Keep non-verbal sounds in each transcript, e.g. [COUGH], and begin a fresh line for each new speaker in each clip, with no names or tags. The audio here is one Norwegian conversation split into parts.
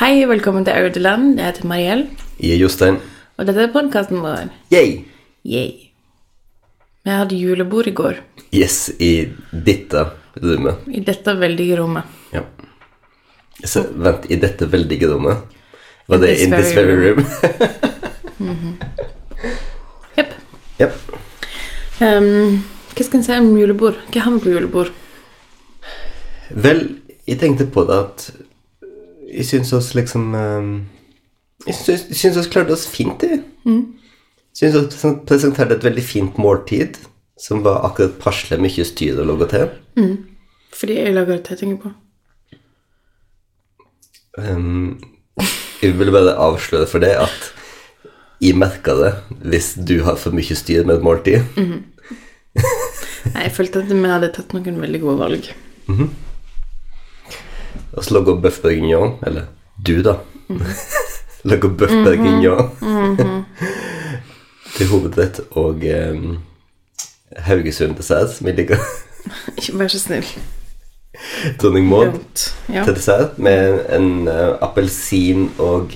Hei, og velkommen til Aureland. Jeg heter Mariell,
Jeg er Jostein.
og dette er podkasten vår.
Yay!
Yay. Vi hadde julebord i går,
Yes, i dette rommet.
i dette veldige rommet.
Ja. Så, vent, i dette veldige rommet? Var det
this
in this
very
very room? [LAUGHS]
Jepp.
Ja.
Ehm, hva skal en si om julebord? Hva har vi på julebord?
Vel, jeg tenkte på det at jeg syns oss liksom ehm, Jeg syns- jeg syns oss klarte oss fint, jeg. Mm. Syns oss presen- presenterte et veldig fint måltid som var akkurat passelig mye styr og logge til.
Fordi jeg lager det jeg tenker på.
Ehm, jeg vil bare avsløre for det at jeg merker det hvis du har for mye styr med et måltid.
Nei, jeg følte at vi hadde tatt noen veldig gode valg.
Og så lager bøff bourguignon, eller du, da. [LAUGHS] lager bøff
Mhm.
bourguignon [LAUGHS] til hovedrett og ehm, Haugesund-dessert, som jeg liker.
Ikke vær så snill.
[LAUGHS] Dronning Maud
Dumt. Ja.
til dessert med en eh, appelsin- og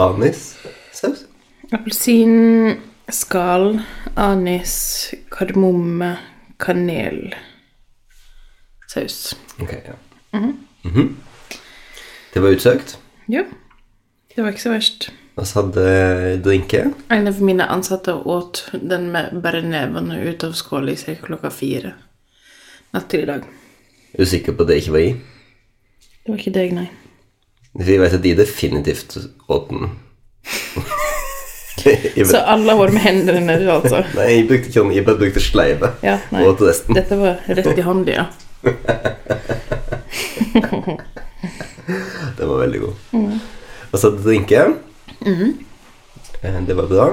anissaus.
Appelsin, skall, anis, kardemomme, kanel, saus.
Ok, ja. Mhm. Det var utsøkt.
Ja, det var ikke så verst.
Og så hadde drinker.
En av mine ansatte åt den med bare nevene ut av skåla i ca. klokka fire natt til i dag.
Usikker på at det ikke var i.
Det var ikke deg, nei.
Vi vet at de definitivt åt den.
[LAUGHS]
Jeg
Så alle har vært med hendene nede, altså.
Nei, jeg brukte ikke hånd, jeg bare brukte sleive.
Ja, nei.
Og til resten.
Dette var rett i hånda, ja.
Den var veldig god.
Mm.
Og så drinke. Eh, Det var bra.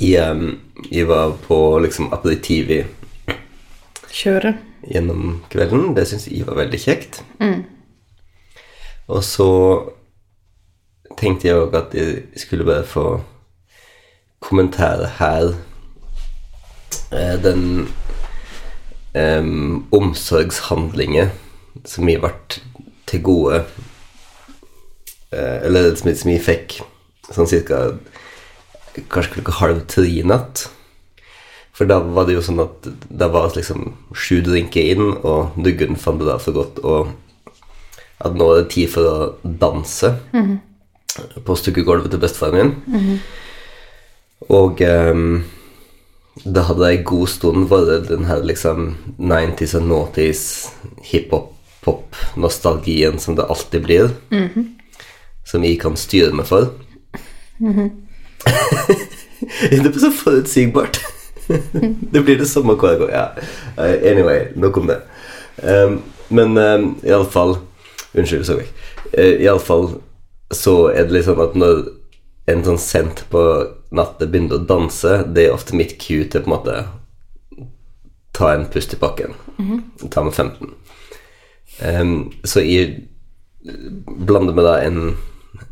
Jeg, em, jeg var på liksom aperitiv i-
Kjøre.
gjennom kvelden. Det syns jeg var veldig kjekt. Og så tenkte jeg òg at jeg skulle bare få kommentere her eh, den um, omsorgshandlingen som jeg ble til gode eh, Eller som, som jeg fikk sånn cirka kanskje klokka halv tre i natt. For da var det jo sånn at det var liksom sju drinker inn, og Duggen fant det da for godt og at nå er det tid for å danse på stukkegulvet til bestefaren min. Og ehm, da hadde det en god stund vært den her liksom 90s og 90s hiphop-pop-nostalgien som det alltid blir, som jeg kan styre meg for. [LAUGHS] det er så forutsigbart. [LAUGHS] det blir det samme hver gang. Ja. Eh, Anyway, nok om det. Um, men um, iallfall Unnskyld, så vekk. Uh, iallfall så er det litt sånn at når en sånn sent på natta begynner å danse, det er ofte mitt cue til på en måte ta en pust i bakken. Ta med 15. Um, så jeg blander med da en,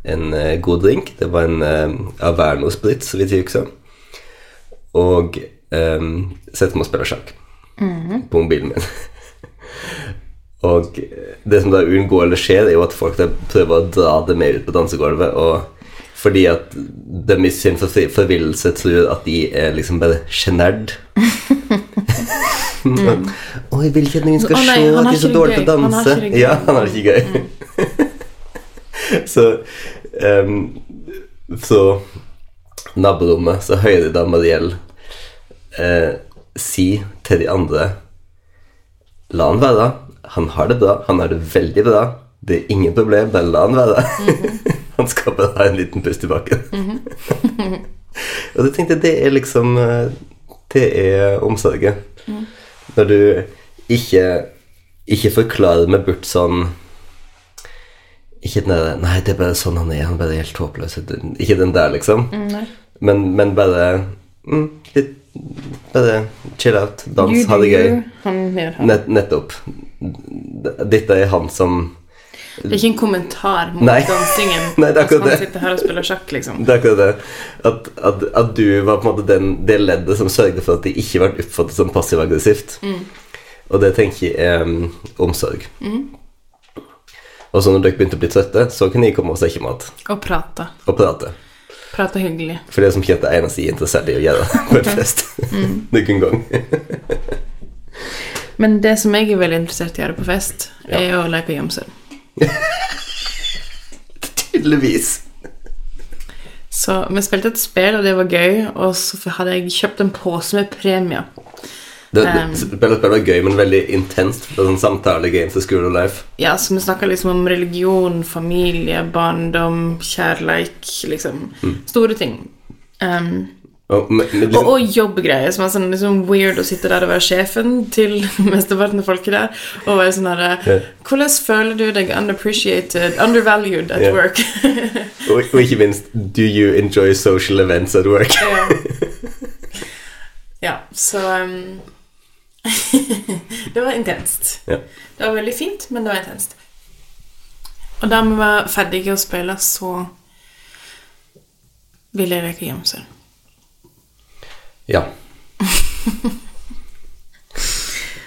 en eh, god drink. Det var en eh, Averno Sprit, så vidt jeg husker. Og eh, setter meg og spiller sjakk
Mhm.
på mobilen min. [LAUGHS] og eh, det som da uunngåelig skjer, er jo at folk da prøver å dra det med ut på dansegulvet. og fordi at de i sin forfri- forvillelse tror at de er liksom bare
[LAUGHS]
sjenert. mm. Å, jeg vil ikke at noen skal
Å, nei,
se
han
at
har
de er så
ikke det
dårlige til å
gøy. Han har
danse.
ikke det gøy. Mm.
Ja, han har det ikke gøy. [LAUGHS] så ehm, Så naborommet, så hører jeg da Mariell eh, si til de andre La han være. Han har det bra. Han har det veldig bra. Det er ingen problem, bare la han være. [LAUGHS] han skal bare ha en liten pust i bakken. [LAUGHS] Og da tenkte jeg, det er liksom eh, Det er omsorgen. Når du ikke Ikke forklarer meg bort sånn Ikke den der Nei, det er bare sånn han er. Han er bare helt håpløs. Ikke den der, liksom.
Nei.
Men, men bare mm, litt Bare chill out. Dans. Ha det gøy.
Han gjør han.
Nett, nettopp. Dette er han som
Det er ikke en kommentar mot
Nei.
dansingen.
[LAUGHS] Nei, det er
at
akkurat det.
Han sitter her og spiller sjakk, liksom.
Det er akkurat det. At, at, at du var på en måte den, det leddet som sørget for at det ikke ble oppfattet som passiv-aggressivt. Og det tenker jeg er um, omsorg. Og så når dere begynte å bli trøtte, så kunne jeg komme og stekke mat
Og prata.
og prate.
Prata hyggelig.
For det er som kjent det eneste jeg er interessert i å gjøre [LAUGHS] på en fest. [LAUGHS] Noen gang.
Men det som jeg er veldig interessert i å gjøre på fest, er å leke gjemsel.
Tydeligvis.
Så vi spilte et spill, og det var gøy, og så hadde jeg kjøpt en pose med premier.
Det, det, spillet spillet var gøy, men veldig intenst. Det er sånn samtale games of school of life.
Ja, så vi snakker liksom om religion, familie, barndom, kjærleik, liksom. Store ting. Um,
Og, men,
og,
men Mm. liksom,
og jobbgreier, som er sånn liksom weird å sitte der og være sjefen til [LAUGHS] mesteparten av folket der, og være sånn herre
Ja.
Hvordan føler du deg unappreciated, undervalued at
Ja. [LAUGHS]
work?
og, og ikke minst Do you enjoy social events at work? [LAUGHS]
ja. ja, så um, [LAUGHS] Det var intenst.
Ja.
Det var veldig fint, men det var intenst. Og da vi var ferdige å spille, så ville jeg leke gjemsel.
ja.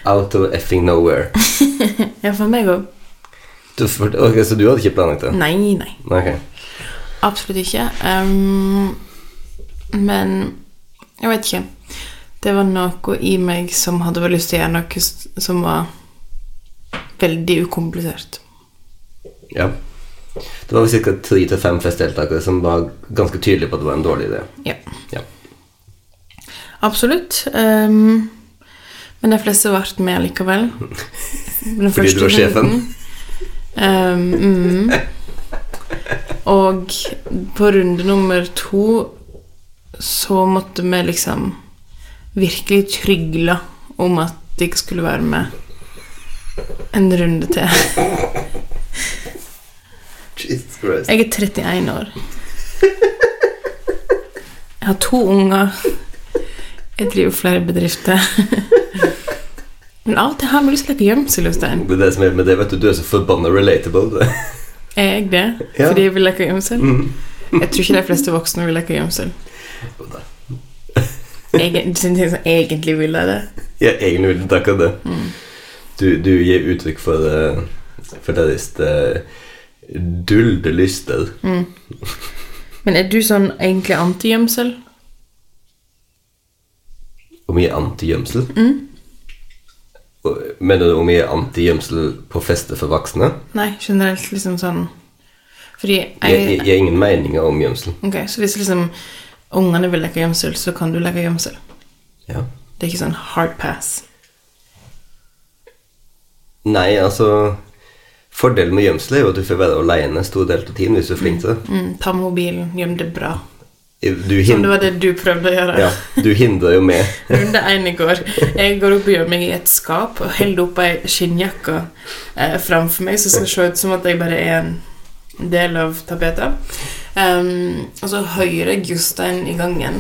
Out of effing nowhere.
Ja, for meg òg.
Du, for, ok, så du hadde ikke planlagt det?
Nei, nei.
Ok.
Absolutt ikke. Ehm, men jeg vet ikke. Det var noe i meg som hadde vel lyst til å gjøre noe s- som var veldig ukomplisert.
Ja. Det var vel ca. tre til fem festdeltakere som var ganske tydelige på at det var en dårlig idé.
Ja.
Ja.
Absolutt. ehm, men de fleste ble med
[LAUGHS]
likevel. Den
Fordi du var
første
sjefen?
runden. Ehm, mm. Og på runde nummer to så måtte vi liksom virkelig trygle om at de ikke skulle være med en runde til.
Jesus Christ.
Jeg er 31 år. Jeg har to unger. Jeg driver flere bedrifter. Men av og til har vi lyst til å leke gjemsel, Jostein.
Det er det som er med det, vet du. Du er så forbanna relatable. du. [LAUGHS]
Er jeg det?
Ja.
Fordi jeg vil leke gjemsel? Jeg tror ikke de fleste voksne vil leke gjemsel. Egen, det er ting som egentlig vil jeg det.
Ja, egentlig ville du takka det. Du, du gir uttrykk for, eh, for deres eh, dulde lyster.
Men er du sånn egentlig anti-gjemsel?
Om jeg er antigjemsel? Og- Mener du om jeg er antigjemsel på fester for voksne?
Nei, generelt liksom sånn Fordi
Jeg, jeg,
jeg
jeg har ingen meninger om gjemsel.
Ok, så hvis liksom ungene vil leke gjemsel, så kan du leke gjemsel.
Ja.
Det er ikke sånn hard pass.
Nei, altså Fordelen med gjemsel er jo at du får være aleine stor del av tiden hvis du er flink til det.
Mm, ta mobilen, gjem det bra.
Du,
Om det
hin
var det du prøvde å gjøre.
ja, du hindrer jo meg.
Runde én i går. Jeg går opp og gjør meg i et skap og holder opp ei skinnjakke eh, framfor meg som skal se ut som at jeg bare er en del av tapetet. Ehm, og så hører jeg Jostein i gangen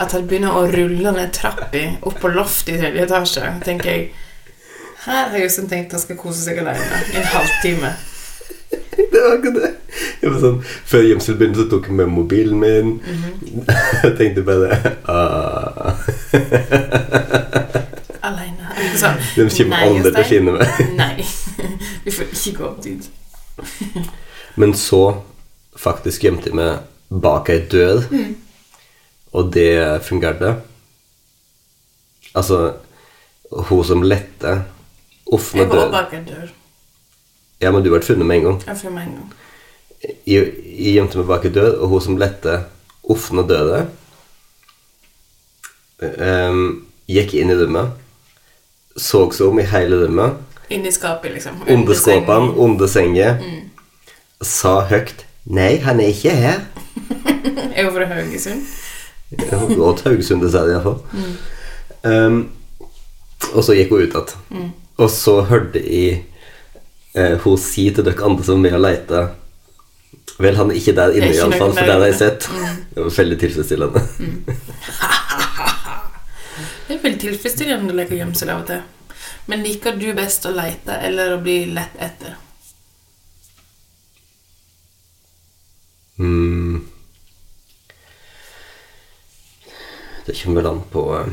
at han begynner å rulle ned trappa opp på loftet i tredje etasje. tenker jeg her har Jostein tenkt han skal kose seg alene i en halvtime.
Det var ikke det. Jeg var sånn, før gjemsel begynte, så tok jeg med mobilen min. [LAUGHS] Jeg tenkte bare ah,
Alene. Altså,
De kommer
nei,
aldri til å
Jostein.
finne meg.
[LAUGHS] Nei. Vi får ikke gå opp dit.
Men så faktisk gjemte jeg meg bak ei dør,
Mm.
og det fungerte. Altså Hun som lette Uff,
Jeg
med
var også
døren.
bak en dør.
Ja, men du ble funnet med en gang.
Jeg får meg en gang.
Jeg, jeg gjemte meg bak ei dør, og hun som lette åpna døra ehm, Gikk inn i rommet, så seg om i hele rommet,
Inni skapet, liksom.
under
sengen. Mm.
skåpene, under senga, sa høyt 'Nei, han er ikke her'.
[LAUGHS] Jeg er fra Haugesund.
Og Haugesund dessert, iallfall.
Mm.
Um, og så gikk hun ut igjen. Og så hørte jeg eh, hun si til dere andre som var med og leita Vel, han er ikke der
Det
inne,
er ikke
iallfall,
noen
for
der
der har jeg
inne. Mm.
sett. Det var veldig tilfredsstillende.
Det er veldig tilfredsstillende å leke gjemsel av og til. Men liker du best å lete eller å bli lett etter?
Mm. Det kommer vel an på eh,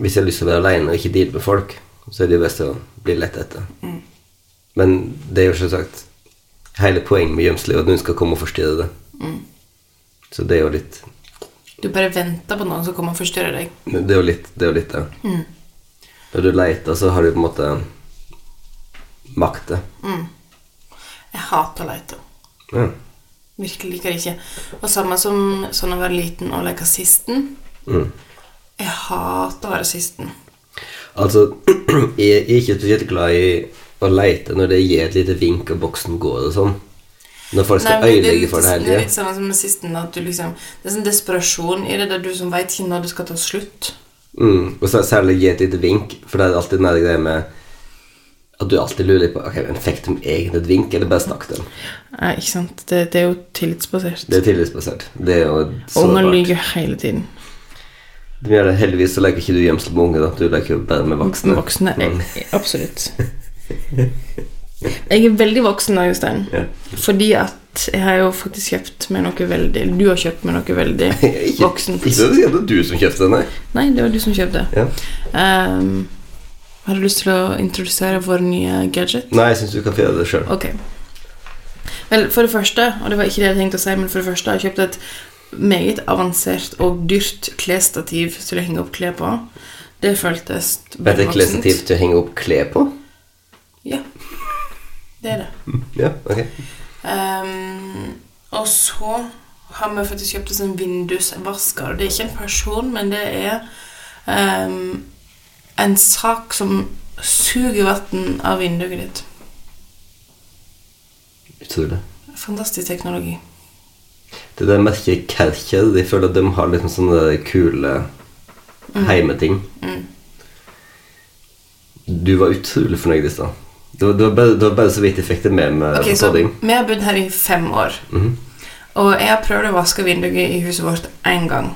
Mm.
Hvis jeg har lyst til å være aleine og ikke deale med folk, så er det jo best å bli lett etter. Men det er jo selvsagt hele poenget med gjemselet er at noen skal komme og forstyrre det.
Mm.
Så det er jo litt
Du bare venter på noen som kommer og forstyrrer deg. Hmm.
Det er jo litt det. Er jo litt, det. Når du leter, så har du på en måte makta.
Jeg hater å lete.
Ja.
Virkelig liker det ikke. Og samme som sånn å være liten og leke sisten.
Mm.
Jeg hater å være sisten.
Altså, [CLEARS THROAT] jeg er ikke spesielt glad i å leite når det gir et lite vink, og boksen går og sånn. Når folk
Nei,
skal
men det er
øyelegge
litt-
for det hele
Det er
tida.
litt samme som med sisten. At du liksom, det er sånn desperasjon i det. Det er du som veit ikke når det skal ta slutt.
Mm. Og så særlig gi et lite vink, for det er alltid den der greia med at du alltid lurer litt på Ok, men fikk de egentlig et vink, eller bare stakk dem?
Nei, ikke sant. Det, det er jo tillitsbasert.
Det er tillitsbasert. Det er jo
Unger
sårbart.
lyver hele tiden.
De gjør det heldigvis, så leker ikke du gjemsel med unge, da. Du leker jo bare med voksne.
Voksne.
Mm.
jeg- Absolutt. Jeg er veldig voksen da, Jostein.
Ja. [LAUGHS]
Fordi at jeg har jo faktisk kjøpt meg noe veldig eller Du har kjøpt meg noe
[LAUGHS]
veldig
Ikke,
voksent.
ikke sånn at det er du som kjøpte den, nei.
Nei, det var du som kjøpte.
Ja.
Um, har du lyst til å introdusere vår nye gadget?
Nei, jeg syns du kan finne det sjøl.
Ok. Vel, for det første, og det var ikke det jeg tenkte å si, men for det første har jeg kjøpt et meget avansert og dyrt klesstativ til å henge opp klær på. Det føltes
Dette
veldig
er klesstativ til å henge opp klær på?
Ja. Det er det.
Ja, ok.
Ehm, og så har vi faktisk kjøpt oss en vindusvasker. Det er ikke en person, men det er ehm, en sak som suger vann av vinduet ditt.
Utrolig.
Fantastisk teknologi.
Det der merket Kercher, de føler at de har liksom sånne der kule
Mm.
heimeting. Du var utrolig fornøyd i stad. Det, var- det, var bare- det var bare så vidt jeg fikk det med meg.
Ok,
på
så
eh, podding.
Vi har bodd her i fem år. Og jeg har prøvd å vaske vinduet i huset vårt én gang.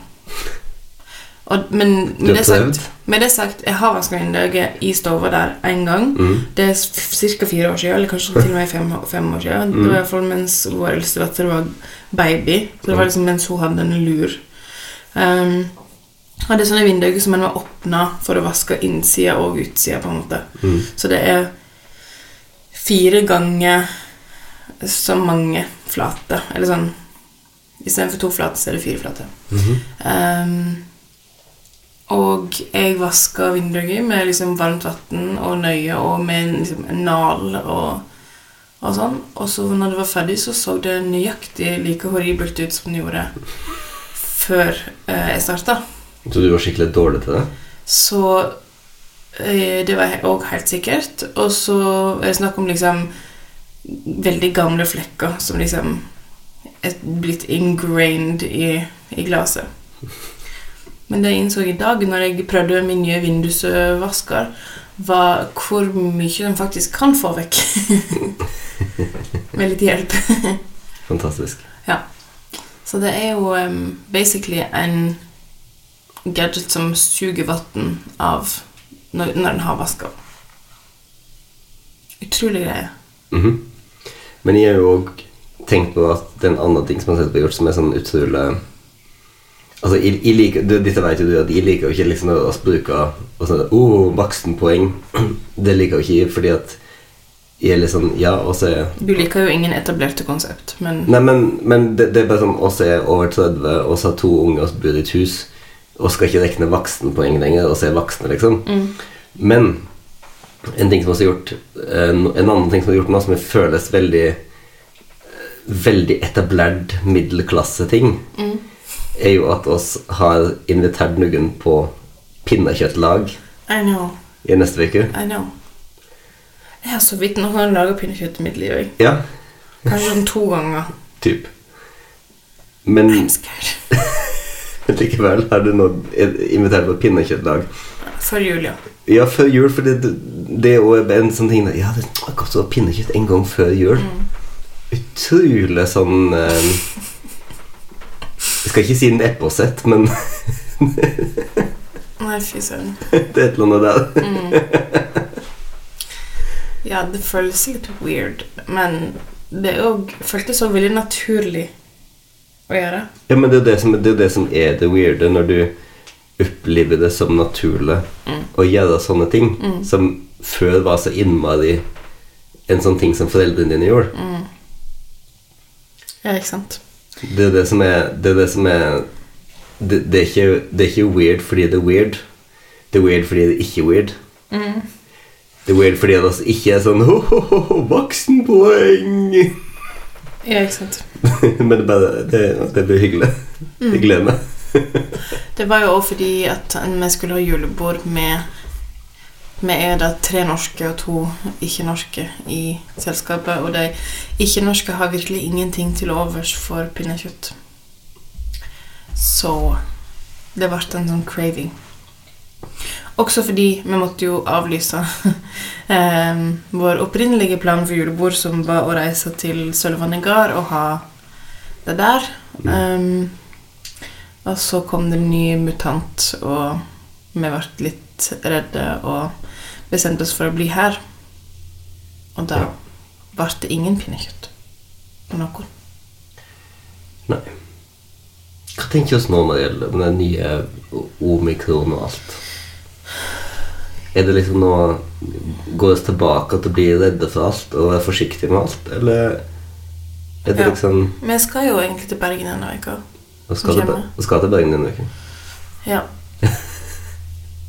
Og, men
har
med det, sagt,
prøvd?
med det sagt, jeg har vaska vinduet i stua der én gang.
Mm.
Det er ca. fire år siden, eller kanskje til og med fem, fem år siden.
Mm.
Det var i hvert fall mens vår eldste datter var baby. Så
Mm.
det var liksom mens hun hadde en lur. Um, og det er sånne vinduer som en må åpne for å vaske innsida og utsida, på en måte.
Mm.
Så det er fire ganger så mange flate. Eller sånn Istedenfor to flate, så er det fire flate.
Mm-hmm.
Ehm, og jeg vasker vinduet med liksom varmt vann og nøye og med en, liksom, en nal og, og sånn. Og så når det var ferdig, så så det nøyaktig like horribelt ut som det gjorde før eh, jeg starta.
Så du var skikkelig dårlig til det?
Så eh, det var he- også helt sikkert. Og så er det snakk om liksom veldig gamle flekker som liksom er blitt ingrained i, i glaset. Men det jeg innså i dag, når jeg prøvde min nye vindusvasker, var hvor mye den faktisk kan få vekk. [LAUGHS] Med litt hjelp.
Fantastisk.
Ja. Så det er jo em, basically en gadget som suger vann av når, når den har vaska. Utrolig greie.
Mhm. Men jeg har jo òg tenkt på at det er en annen ting som jeg har sett på gjort, som er sånn utrolig Altså, jeg, jeg liker, du, dette vet jo du at jeg liker jo ikke liksom å bruke og sånn, oh, voksenpoeng. [CLEARS THROAT] Det liker jo ikke jeg, fordi at jeg er litt sånn Ja, og så er jeg
Du liker jo ingen etablerte konsept, men
Nei, men, men det, det er bare sånn oss er over 30, oss har to unge, oss bor i et hus, og skal ikke rekne voksenpoeng lenger, oss er voksne, liksom. Men en ting som også er gjort en, en annen ting som er gjort nå, som føles veldig veldig etablert middelklasseting, er jo at oss har invitert noen på pinnekjøttlag
I know.
i neste uke.
I know. Jeg har så vidt noen ganger laga pinnekjøtt i mitt liv. jeg.
Ja,
Kanskje sånn to ganger.
typ. Men
I'm scared.
likevel har du nå invitert på pinnekjøttlag.
For Julia.
Ja, før jul, for det, det er jo en sånn ting der, Ja, det er godt å ha pinnekjøtt en gang før jul. Utrolig sånn eh, Jeg skal ikke si neppåsett, men [LAUGHS]
Nei, fy søren.
det er et eller annet der.
Ja, det føles sikkert weird, men det òg føltes så veldig naturlig å gjøre.
Ja, men det er jo det som, det er, jo det som er det weirde, når du opplever det som naturlig å gjøre sånne ting som før var så innmari en sånn ting som foreldrene dine gjorde.
Ja, ikke sant?
Det er det som er Det er det som er det, det, er ikke, det er ikke weird fordi det er weird. Det er weird fordi det ikke er weird. Det er weird fordi det altså ikke er sånn [LAUGHS] ho, ho, ho, ho, voksenpoeng! [LAUGHS]
Ja, ikke sant?
Men det, er bare, det, det blir hyggelig. Jeg gleder meg.
Det var jo òg fordi at vi skulle ha julebord med Vi er da tre norske og to ikke-norske i selskapet, og de ikke-norske har virkelig ingenting til overs for pinnekjøtt. Så det ble en sånn craving. Også fordi vi måtte jo avlyse [LAUGHS] eh, vår opprinnelige plan for julebord, som var å reise til Sølvane gard og ha det der. Um, og så kom det en ny mutant, og vi ble litt redde og bestemte oss for å bli her. Og da
Ja.
ble det ingen pinnekjøtt på noen.
Nei. Hva tenker oss nå når det gjelder med den nye o- omikron og alt? Er det liksom nå Går oss tilbake til å bli redde for alt og være forsiktige med alt, eller er det
Ja.
liksom
Vi skal jo egentlig til Bergen denne uka.
Og skal, til,
Kommer.
Ber- og skal til Bergen denne uken?
Ja. [LAUGHS]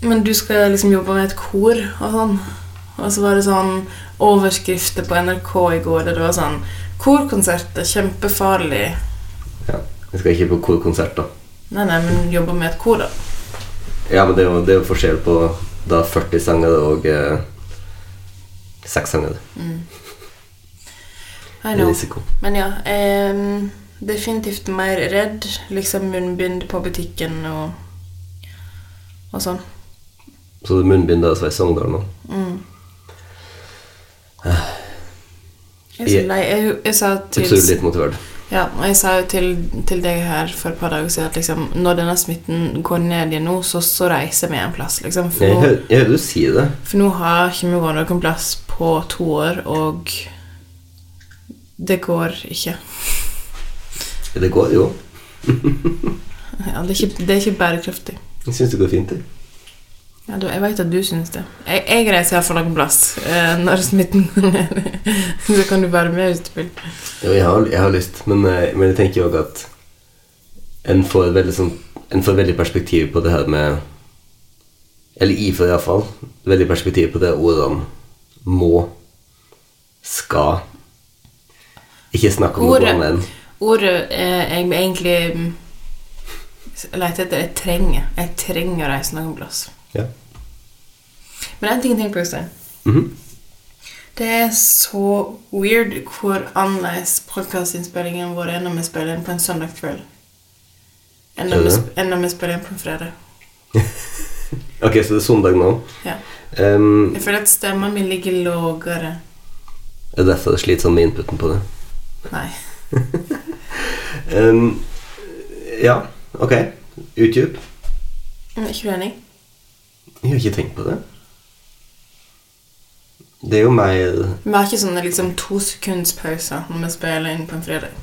Men du skal liksom jobbe med et kor og sånn. Og så var det sånn overskrifter på NRK i går der det var sånn Korkonsert er kjempefarlig.
Ja. Jeg skal ikke på korkonsert, da.
Nei, nei, men jobbe med et kor, da.
Ja, men det er jo, det er jo forskjell på da 40 sanger og eh, 6 sanger.
I
Det er
know.
risiko.
Men ja, em, definitivt mer redd. Liksom munnbind på butikken og, og sånn.
Så det er munnbind da så er jeg i Sogndal nå.
Jeg er så
Ja.
lei. Jeg, jeg sa
Typ så er du
til
litt motivert.
Ja, og jeg sa jo til, til deg her for et par dager siden at liksom, når denne smitten går ned igjen nå, så, så reiser vi en plass, liksom. For
Jeg
nå,
hø- jeg hører du si det.
for nå har ikke vi vært noen plass på to år, og det går ikke. [LAUGHS]
Det går jo.
Ja, det, er ikke det er ikke bærekraftig.
Jeg syns det går fint. det.
Ja, du, jeg vet at du syns det. Jeg, jeg reiser iallfall noen plass eh, når smitten [LAUGHS] går ned. så kan du være med ut til
Jo, jeg har, jeg har lyst, men, eh, men jeg tenker jo også at en får veldig, sånn, en får veldig perspektiv på det her med Eller IFO iallfall. Veldig perspektiv på det ordene må, skal Ikke snakk om noe
Ordet-
annet enn
Ordet eh, jeg egentlig mm, leter etter, jeg trenger. Jeg trenger å reise noen plass.
ja.
Men en ting jeg tenker på, Jostein.
Mhm.
Det er så weird hvor annerledes podkastinnspillingen vår er når vi spiller inn på en søndag kveld. Enn når,
Er
vi,
det?
sp- enn når vi spiller inn på en fredag.
Ok, så det er søndag nå.
Ja.
Ehm,
Jeg føler at stemmen min ligger lågere.
det er derfor jeg sliter sånn med inputen på det.
Nei.
Ehm, ja, ok. Utdyp.
Mm, Ikke du enig?
Jeg har ikke tenkt på det. Det er jo mer
Vi har ikke sånne liksom to sekunds pauser når vi spiller inn på en fredag.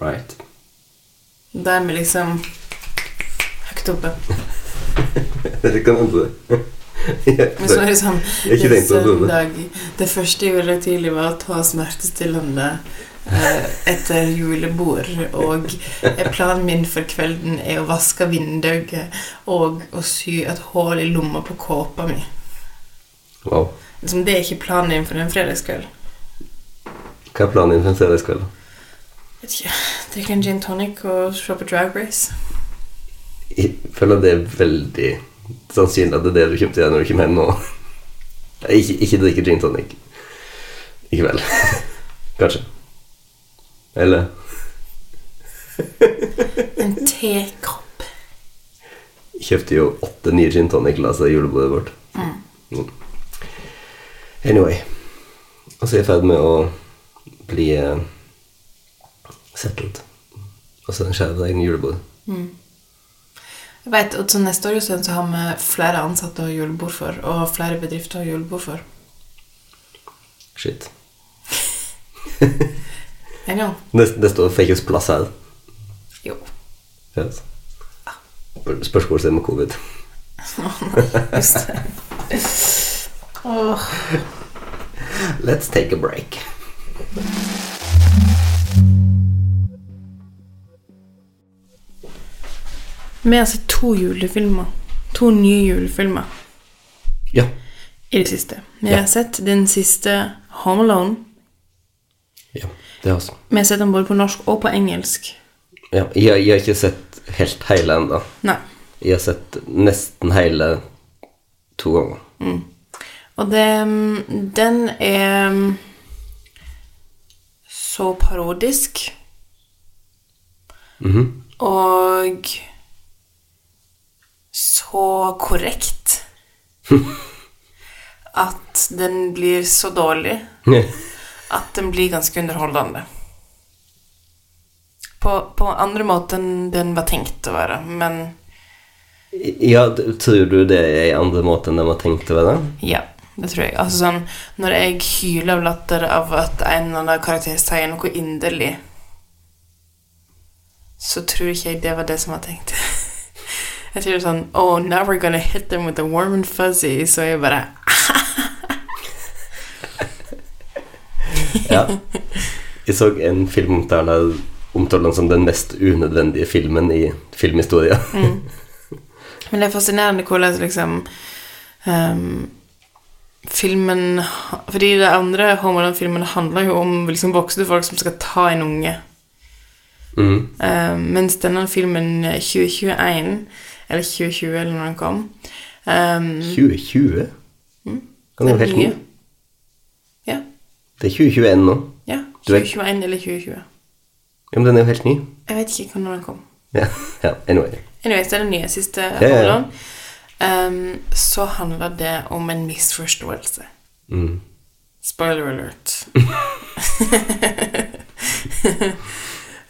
Right.
Da er vi liksom høyt oppe.
Det kan hende det. [LAUGHS] Jeg
Men så er det
[LAUGHS]
sånn
har ikke tenkt på det. Tone.
søndag, det første jeg gjorde tidlig, var å ta smertestillende eh, etter julebord. Og eh, planen min for kvelden er å vaske vinduet og å sy et hull i lomma på kåpa mi.
Wow.
Liksom, det er ikke planen din for en fredagskveld.
Hva er planen din for en fredagskveld?
Vet ikke, Drikke en gin tonic og se på Drag Race.
Jeg føler det er veldig sannsynlig at det er det du kommer til å gjøre når du kommer hjem nå. [LAUGHS] Nei, Ikke, ikke drikke gin tonic. I kveld. [LAUGHS] Kanskje. Eller
En tekopp.
kjøpte jo åtte nye gin tonic-glasser i julebordet vårt. Mm. Anyway. Og så er jeg i ferd med å bli eh, settled. Og så skjærer jeg egen julebord.
Jeg vet, og så Neste år Jostein, så har vi flere ansatte å ha julebord for, og flere bedrifter å ha julebord for.
Shit.
En gang.
Neste, neste år fikk oss plass her.
Jo.
Yes. Spørsmålet er med covid.
[LAUGHS] Just det. Åh.
Let's take a break.
Vi har sett to julefilmer. To nye julefilmer
Ja.
i det siste. Vi
Ja.
har sett den siste Home Alone.
ja det har også.
Vi har sett den både på norsk og på engelsk.
Ja, jeg, jeg har ikke sett helt hele ennå.
Nei.
Jeg har sett nesten hele to ganger. [LAUGHS]
Og det mm, Den er mm, så parodisk. Og så korrekt at den blir så dårlig at den blir ganske underholdende. På, på andre måter enn den var tenkt å være, men
ja, d- tror du det er en andre måte enn de har tenkt å være?
Ja, det tror jeg. Altså sånn, Når jeg hyler av latter av at en eller annen karakter sier noe inderlig, så tror ikke jeg det var det som var tenkt. [LAUGHS] Jeg tror det er sånn Oh, now we're gonna hit them with the warm and fuzzy. Så jeg bare
[LAUGHS] Ja. Jeg så en filmomtale omtale den som den mest unødvendige filmen i filmhistoria.
Men det er fascinerende hvordan liksom ehm, Filmen Fordi det andre Home Alone-filmen handler jo om liksom voksne folk som skal ta en unge.
Mm.
Eh, mens denne filmen eh, 2021, eller 2020 eller når den kom eh,
2020? Mm. Den er jo helt ny.
nye. Ja.
Det er 2021 nå.
ja.
Du vet-
2021 eller 2020.
Ja, men den er jo helt ny.
Jeg vet ikke når den kom.
Ja, ja anyway.
Anyways, det er den nye siste
ja, ja.
handelen. Eh, så handler det om en misforståelse.
Mm.
Spoiler
[LAUGHS]
alert.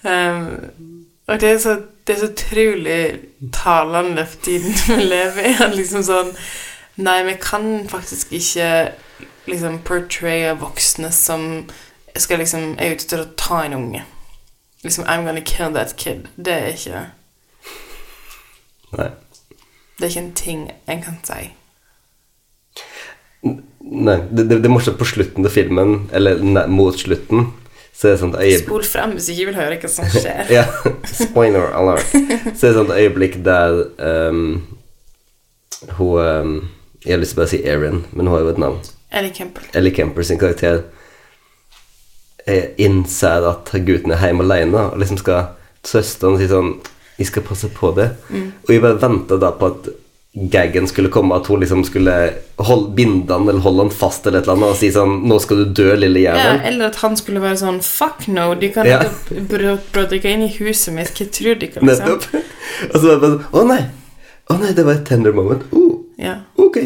um, og det er, så, det er så utrolig talende for tiden vi lever i. At liksom sånn Nei, vi kan faktisk ikke liksom portraye voksne som skal liksom er ute til å ta en unge. Liksom I'm gonna kill that kid. Det er ikke
Nei.
Det er ikke en ting en kan si.
Nei, det, det, det er morsomt på slutten av filmen, eller nei, mot slutten, så er det sånt øyeblikk
Spol frem hvis ikke vil høre hva som skjer.
[LAUGHS] ja, Spoiler alert. Så er det sånt øyeblikk der ehm, hun ehm, Jeg har lyst til å bare si Erin, men hun har jo et navn.
Ellie Campbell.
Ellie Kemper sin karakter eh, innser at gutten er hjemme alene, og liksom skal trøste han og si sånn 'Jeg skal passe på det'. Og jeg bare venta da på at gaggen skulle komme, at hun liksom skulle hold, binde han eller holde han fast eller et eller annet og si sånn 'Nå skal du dø, lille
Ja,
jævel'.
eller at han skulle være sånn Fuck no, de kan
Ja.
ikke br- bråte dere inn i huset mitt. Hva tror dere? liksom?»
Nettopp. [LAUGHS] og så var det bare sånn 'Å nei'. Å nei, det var et tender moment. Oh,
Ja.
ok.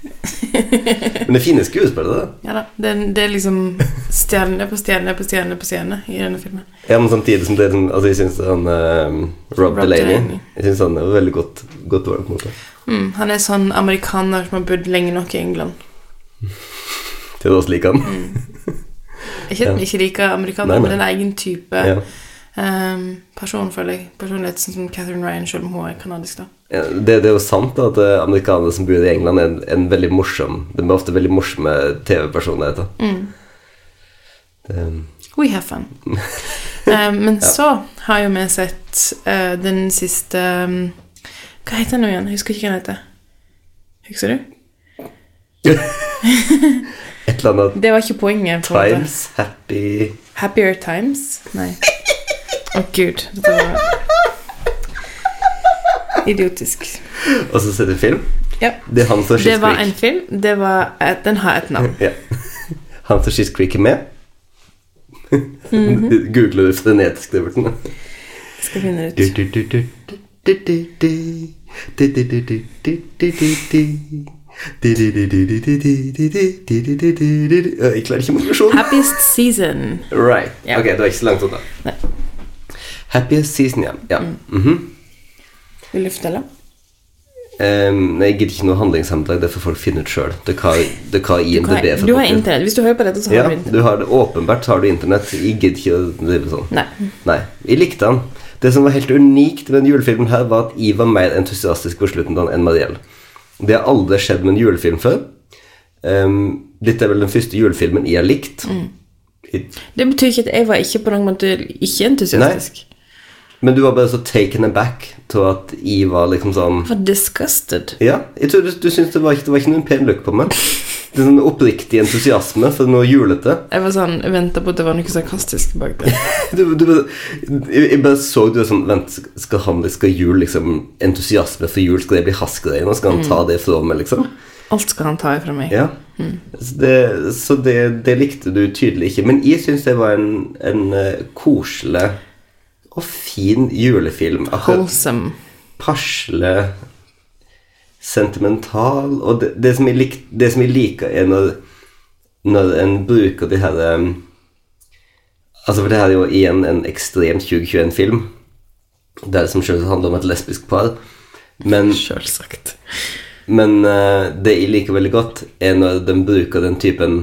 Men det er fine skuespillere, da.
ja da. Det, er- det er liksom stjerne på stjerne på stjerne på stjerne i denne filmen.
Ja, men samtidig som det er sånn Altså, jeg syns han eh, Rob,
Rob
Delaney,
Delaney.
Jeg synes han er veldig godt, godt work mot det.
Mm, han er sånn amerikaner som har bodd lenge nok i England. Mm.
Til oss liker han.
Ikke at vi ikke liker
Nei,
amerikanere,
nei.
men en egen type
Ja.
ehm, person, føler jeg. Personlighet sånn som Catherine Ryan, selv om hun er kanadisk, da.
Ja, Det, det er jo sant da, at eh, amerikanere som bor i England, er en, en veldig morsom De er ofte veldig morsomme TV-personligheter.
Mm.
Det-
We have
[LAUGHS]
fun. Eh, men så har jo vi sett eh, den siste um, Hva heter den nå igjen? Jeg husker ikke hva den heter. Husker du?
Et eller annet
Det var ikke poenget. på en måte.
Times Happy
Happier Times? Nei. Å, gud. Dette var idiotisk.
Og så ser du film.
Ja.
Det er han som
Det
Schiss
var en
Creek.
film. Det var et, den har et navn.
Ja. [LAUGHS] Han som Schiss Creek er med.
Mhm.
[LAUGHS] Googler du frenetisk, Duberton?
Jeg skal finne det ut.
Jeg klarer ikke motivasjonen.
Happiest Season.
Right.
Ja.
Ok, det var ikke så langt unna.
Nei.
Happiest season, ja. ja. mhm.
Vil du fortelle?
Ehm, nei, jeg gidder ikke noe handlingssammendrag. Det får folk finne ut sjøl. Det kan det kan
Du har,
IMDb for
du har
folk.
internett. Hvis du hører på dette, så har
Ja,
du internett.
du har det. Åpenbart har du internett. Jeg gidder ikke å drive sånn.
Nei.
Nei, jeg likte han. Det som var helt unikt med den julefilmen her, var at jeg var mer entusiastisk på slutten av den enn Mariell. Det har aldri skjedd med en julefilm før. Ehm, dette er vel den første julefilmen jeg har likt. I,
Det betyr ikke at jeg var ikke på noen måte ikke entusiastisk.
men du var bare så taken aback til at jeg var liksom sånn
Jeg var disgusted.
Ja, jeg tror du, du syntes det var ikke, det var ikke noen pen look på meg. Det er sånn oppriktig entusiasme for noe julete.
Jeg var sånn, jeg ventet på at det var noe sarkastisk bak det.
Du, du, bare- jeg jeg bare så du var sånn Vent, skal han skal jul liksom Entusiasme for jul, skal det bli haskegreier nå? Skal han ta det fra meg, liksom?
Alt skal han ta ifra meg.
Ja. Så, det, så det, det likte du tydelig ikke. Men jeg syns det var en, en eh, koselig og fin julefilm. Akkurat
Wholesome.
pasle sentimental. Og det, det, som jeg lik, det som jeg liker, er når, når en bruker de her um, Altså, for det her er jo igjen en ekstremt 2021-film. Der det som selvsagt handler om et lesbisk par. Men,
Selvsagt.
men eh, det jeg liker veldig godt, er når den bruker den typen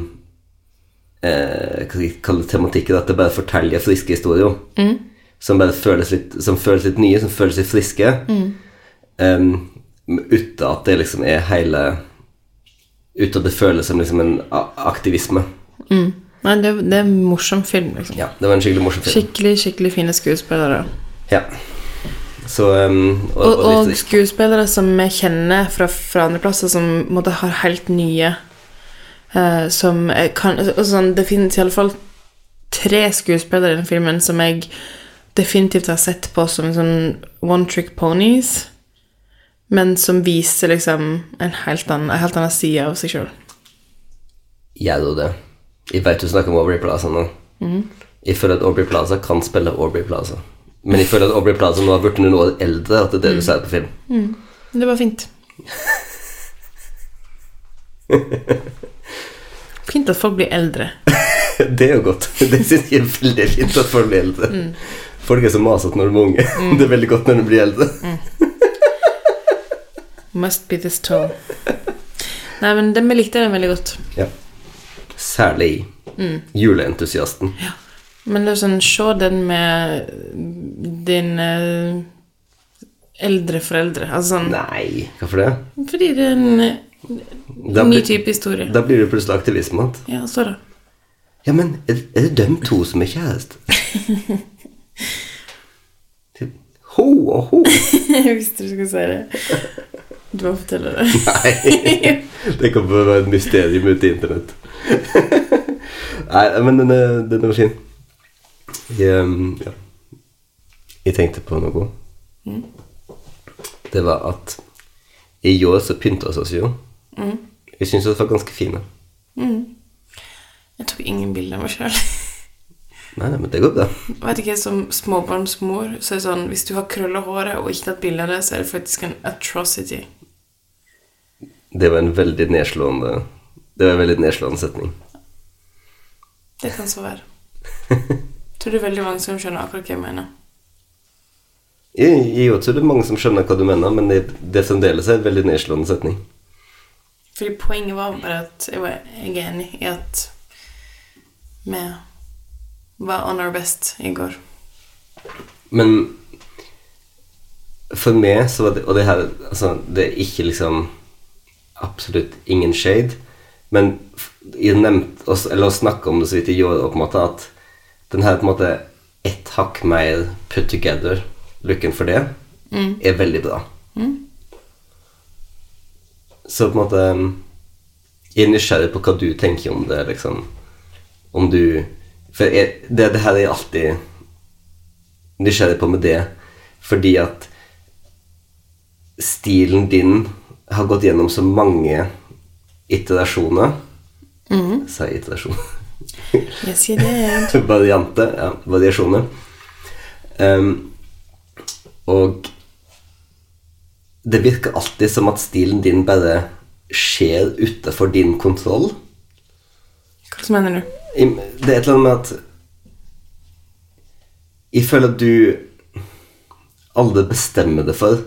eh, Hva skal jeg kalle det tematikken? At det bare forteller friske historier. Som bare føles litt, som føles litt nye, som føles litt friske. Um, uten at det liksom er hele Uten at det føles som liksom en a- aktivisme.
Nei, det, det er en morsom film, liksom.
Ja, det var en skikkelig morsom film.
Skikkelig, skikkelig fine skuespillere.
Ja. Så um, og,
Og,
og
og
litt-
skuespillere som vi kjenner fra, fra andre plasser, som på en måte har helt nye eh, Som jeg kan og sånn, Det finnes iallfall tre skuespillere i den filmen som jeg definitivt har sett på som sånn one trick ponies, men som viser liksom en helt annen, en helt annen side av seg sjøl.
Jeg gjør det. Jeg vet du snakker om Aubrey Plaza nå. Jeg føler at Aubrey Plaza kan spille Aubrey Plaza. Men jeg føler at Aubrey Plaza nå har blitt noen år eldre. At det er det du sier på film. [LAUGHS]
Det var fint. Fint at folk blir eldre.
Det er jo godt. [LAUGHS] Det syns jeg er veldig fint at folk blir eldre. Folk er så masete når de er unge. [LAUGHS] Det er veldig godt når de blir eldre.
Must be this tall. Nei, men den vi likte den veldig godt.
Ja. Særlig juleentusiasten.
Men det er sånn, se den med din eh, eldre foreldre. Altså sånn
Nei, hvorfor det?
Fordi det er en eh,
Da
ny
blir-
type historie.
Da blir det plutselig aktivisme. at,
Ja, så da.
Ja, men er, er det dem to som er kjæreste? Typ, ho og ho.
Jeg visste du skulle si det. Du må fortelle det.
Nei. Det kommer til å være et mysterium ute i internett. Nei, men den er, den er fin. Jeg, um, ja. jeg tenkte på noe. Det var at i år så pynta vi oss jo. Jeg syns vi var ganske fine.
Jeg tok ingen bilder av meg sjøl.
Nei, nei, men det går bra.
Vet ikke, som småbarnsmor så er det sånn Hvis du har krølla håret og ikke tatt bilde av det, så er det faktisk en atrocity.
Det var en veldig nedslående Det var en veldig nedslående setning.
Det kan så være. Tror det er veldig mange som skjønner akkurat hva jeg mener.
Jeg, jeg også tror det er mange som skjønner hva du mener, men det, det fremdeles er en veldig nedslående setning.
Fordi poenget var bare at jeg, var, jeg er enig i at vi var on our best i går.
Men for meg så var det Og det her altså, Det er ikke liksom absolutt ingen shade, men f- jeg nevnte oss, Eller å snakke om det så vidt jeg gjorde, på en måte, at den her på en måte ett hakk mer put together-looken for det er veldig bra. Så på en måte Jeg er nysgjerrig på hva du tenker om det, liksom. Om du For jeg, det, det her er alltid nysgjerrig på med det fordi at stilen din har gått gjennom så mange iterasjoner. Sa jeg iterasjon? [LAUGHS]
Yes, you did.
Variante, ja, variasjoner. Ehm, og det virker alltid som at stilen din bare skjer utenfor din kontroll.
Hva mener du?
Im- Det er et eller annet med at Jeg føler at du aldri bestemmer deg for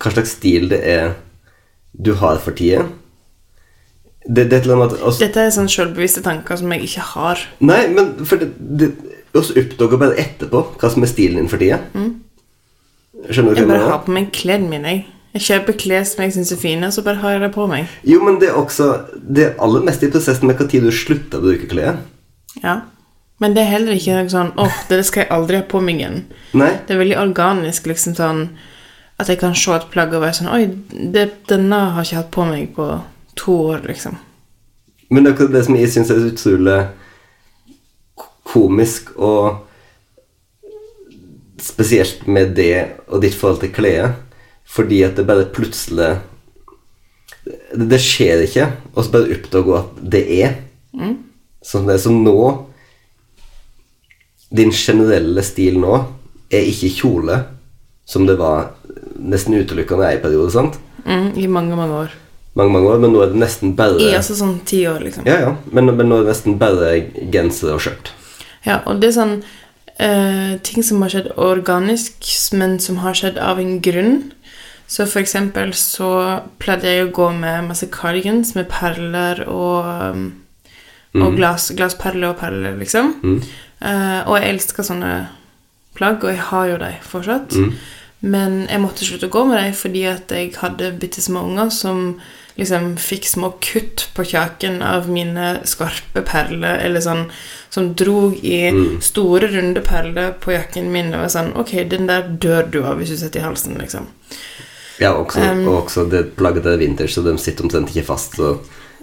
hva slags stil det er du har for tida. Det, det er et eller annet med at oss,
Dette er sånn selvbevisste tanker som jeg ikke har.
Nei, men for det, det, oss oppdager bare etterpå hva som er stilen din for tida. Skjønner du
Mm. Jeg
hva jeg
bare har
mener?
på meg klærne mine. jeg. Jeg kjøper klær som jeg syns er fine, og så bare har jeg det på meg.
Jo, men det er også det aller meste i prosessen med når du slutter å bruke klær.
Ja. Men det er heller ikke noe sånn åh, det skal jeg aldri ha på meg igjen.
Nei.
Det er veldig organisk, liksom sånn at jeg kan se et plagg og være sånn Oi, det, denne har jeg ikke hatt på meg på to år, liksom.
Men det er akkurat det som jeg syns er utrolig k- komisk og Spesielt med det og ditt forhold til klær, fordi at det bare plutselig Det, det skjer ikke, og så bare oppdager hun at det er. Sånn det er som nå Din generelle stil nå er ikke kjole, som det var nesten utelukkende i en periode, sant?
Mm, I mange, mange år.
Mange, mange år, men nå er det nesten bare
I altså sånn ti år, liksom.
ja, ja. Men, men nå er det nesten bare genser og skjørt.
Ja, og det er sånn eh, ting som har skjedd organisk, men som har skjedd av en grunn. Så for eksempel så pleide jeg å gå med masse cardigans med perler og, um, og glass, glassperler og perler, liksom. Eh, og jeg elsker sånne plagg, og jeg har jo dem fortsatt. Men jeg måtte slutte å gå med dem fordi at jeg hadde bitte små unger som liksom fikk små kutt på kjaken av mine skarpe perler, eller sånn som drog i store, runde perler på jakken min. Og var sånn Ok, den der dør du av hvis du setter i halsen, liksom.
Ja, også, og også det plagget er vintage, så de sitter omtrent ikke fast. Så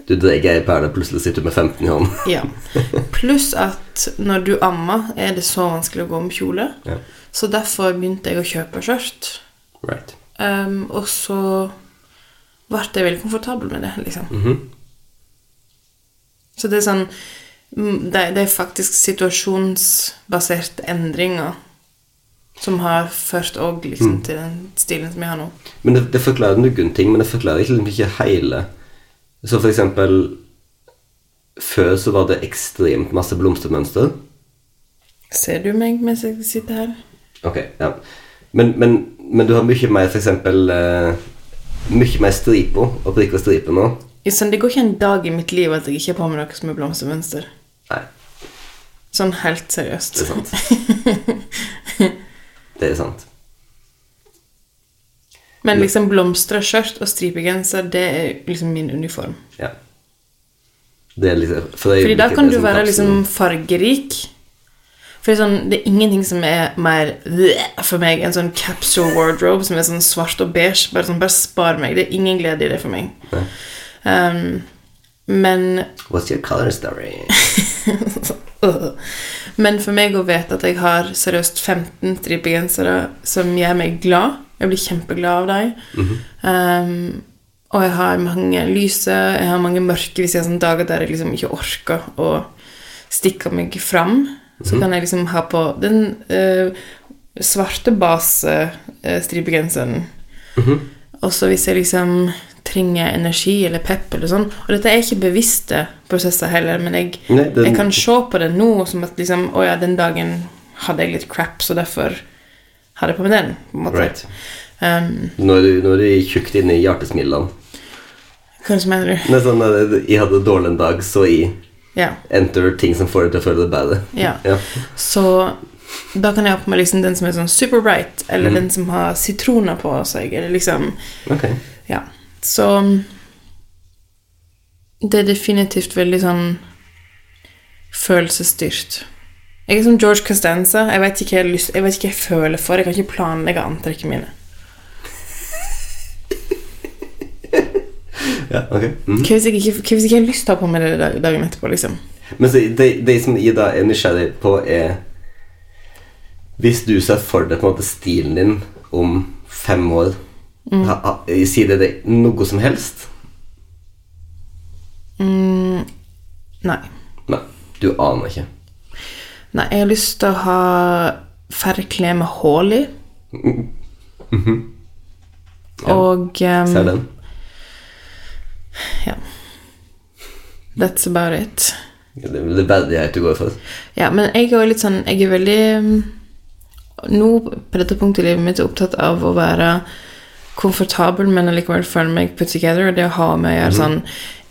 du dreier ei perle, plutselig sitter du med 15 i hånden.
Ja. Pluss at når du ammer, er det så vanskelig å gå med kjole.
Ja.
Så derfor begynte jeg å kjøpe skjørt.
Right.
Ehm, og så ble jeg veldig komfortabel med det, liksom. Så det er sånn mm, det, det er faktisk situasjonsbaserte endringer som har ført òg liksom, til den stilen som jeg har nå.
Men det, det forklarer noen ting, men det forklarer ikke, liksom ikke hele. Så for eksempel Før så var det ekstremt masse blomstermønster.
Ser du meg mens jeg sitter her?
Ok, ja. Men, men, men du har mye mer for eksempel eh, Mye mer striper og prikker striper nå.
Ja, Sånn, det går ikke en dag i mitt liv at jeg ikke har på meg noe som er blomstermønster.
Nei,
Sånn helt seriøst.
det er sant.
[LAUGHS]
det er sant.
Men liksom blomstra skjørt og stripegenser, det er liksom min uniform.
Ja. Det er liksom for det
Fordi da
øyeblikket
kan
det
du
som
være
kapselen-
liksom fargerik. For det er, sånn, det er ingenting som er mer bleh for meg enn sånn capsule wardrobe som er sånn svart og beige. Bare sånn, bare spar meg. Det er ingen glede i det for meg.
Nei.
Um, men
What's your color story?
øh. [LAUGHS] Men for meg å vite at jeg har seriøst 15 stripegensere som gjør meg glad Jeg blir kjempeglad av dem. um, og jeg har mange lyse, jeg har mange mørke hvis jeg har sånne dager der jeg liksom ikke orker å stikke meg fram. Så kan jeg liksom ha på den eh, svarte eh, base-stripegenseren. Også hvis jeg liksom trenger energi eller pep eller sånn. Og dette er ikke bevisste prosesser heller, men jeg,
Nei, den-
jeg kan se på det nå som at liksom Å ja, den dagen hadde jeg litt crap, så derfor hadde jeg på meg den. på en måte.
Right.
Um,
Nå er du, nå er du tjukt inne i hjertesmilene.
hva er det som mener du?
Det er sånn at jeg hadde en dårlig en dag, så jeg
Ja.
enter ting som får deg til å føle deg bedre.
Ja. Så da kan jeg ha på meg liksom den som er sånn super bright, eller
Mm.
den som har sitroner på seg, eller liksom
Ok.
Ja. Så um, Det er definitivt veldig sånn følelsesstyrt. Jeg er som George Costanza. Jeg vet ikke hva jeg, har lyst, jeg, vet ikke hva jeg føler for. Jeg kan ikke planlegge antrekkene mine.
Ja, ok. Mhm.
Hva hvis jeg ikke, hva hvis jeg ikke har lyst til å ha på meg det dag- dagen etterpå? liksom?
Men så, det, det som jeg da er nysgjerrig på, er Hvis du ser for deg på en måte stilen din om fem år
Mm.
ha, ha, Sier det deg noe som helst?
Nei.
Nei. Du aner ikke.
Nei, jeg har lyst til å ha færre klær med hull i.
Mhm.
Og ehm,
Ser den?
Ja. That's about it.
Det det er verdighet du går for.
Ja, men jeg er jo litt sånn Jeg er veldig mm, Nå på dette punktet i livet mitt er jeg opptatt av å være komfortabel, men allikevel føle meg put together. Og det å ha med å gjøre sånn